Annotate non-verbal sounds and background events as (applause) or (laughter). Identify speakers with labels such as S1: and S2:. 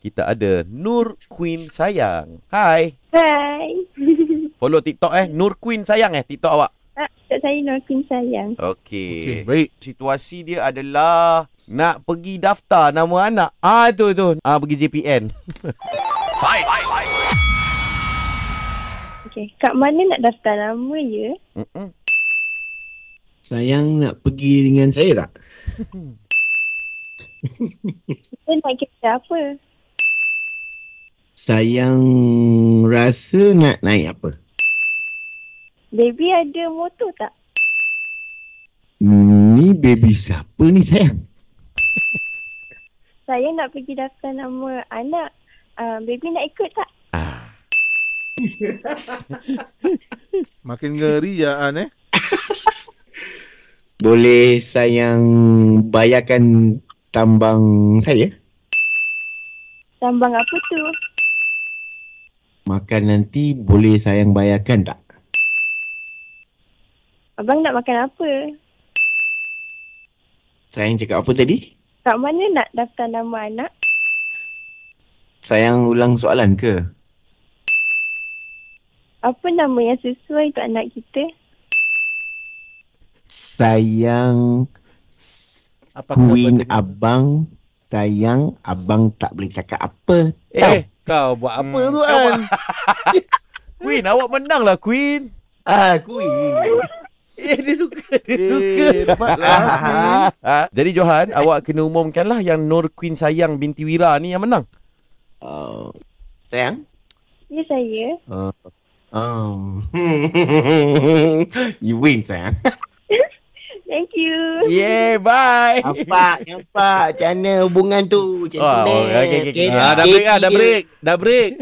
S1: kita ada Nur Queen Sayang. Hai.
S2: Hai.
S1: Follow TikTok eh. Nur Queen Sayang eh TikTok awak.
S2: Ah, Tok saya Norkin sayang.
S1: Okey.
S3: Okey, baik.
S1: Situasi dia adalah nak pergi daftar nama anak. Ah tu tu. Ah pergi JPN.
S2: Okey. Kat mana nak daftar nama ya?
S1: Mm-mm.
S4: Sayang nak pergi dengan saya tak?
S2: Kita nak kerja apa?
S4: Sayang rasa nak naik apa?
S2: Baby ada motor tak?
S4: Hmm, Ni baby siapa ni sayang?
S2: Saya nak pergi daftar nama anak. Uh, baby nak ikut tak?
S3: Makin ngeri ya An eh.
S4: Boleh sayang bayarkan tambang saya?
S2: Tambang apa tu?
S4: Makan nanti boleh sayang bayarkan tak?
S2: Abang nak makan apa?
S4: Sayang cakap apa tadi?
S2: Kat mana nak daftar nama anak?
S4: Sayang ulang soalan ke?
S2: Apa nama yang sesuai untuk anak kita?
S4: Sayang s-
S3: Apa
S4: Queen abang Sayang abang tak boleh cakap apa tau.
S3: Eh, kau buat apa
S1: Hmm,
S3: tu
S1: kau
S3: An?
S1: (laughs) Queen awak menang lah Queen.
S4: Ah, Queen
S1: Eh dia suka. Dia
S3: Eh,
S1: (laughs)
S3: dapatlah.
S1: Jadi Johan, awak kena umumkanlah yang Nur Queen Sayang binti Wira ni yang menang.
S4: Oh, sayang?
S2: Ya saya.
S4: Uh, um, (laughs) you win sayang.
S2: Thank you.
S1: Ya, Yeah, bye.
S4: Nampak, nampak. Macam mana hubungan tu? Macam
S1: Oh,
S4: mana?
S1: oh, okey, okey, okey.
S3: Ah, dah lah, break ah, dah break. Dah break.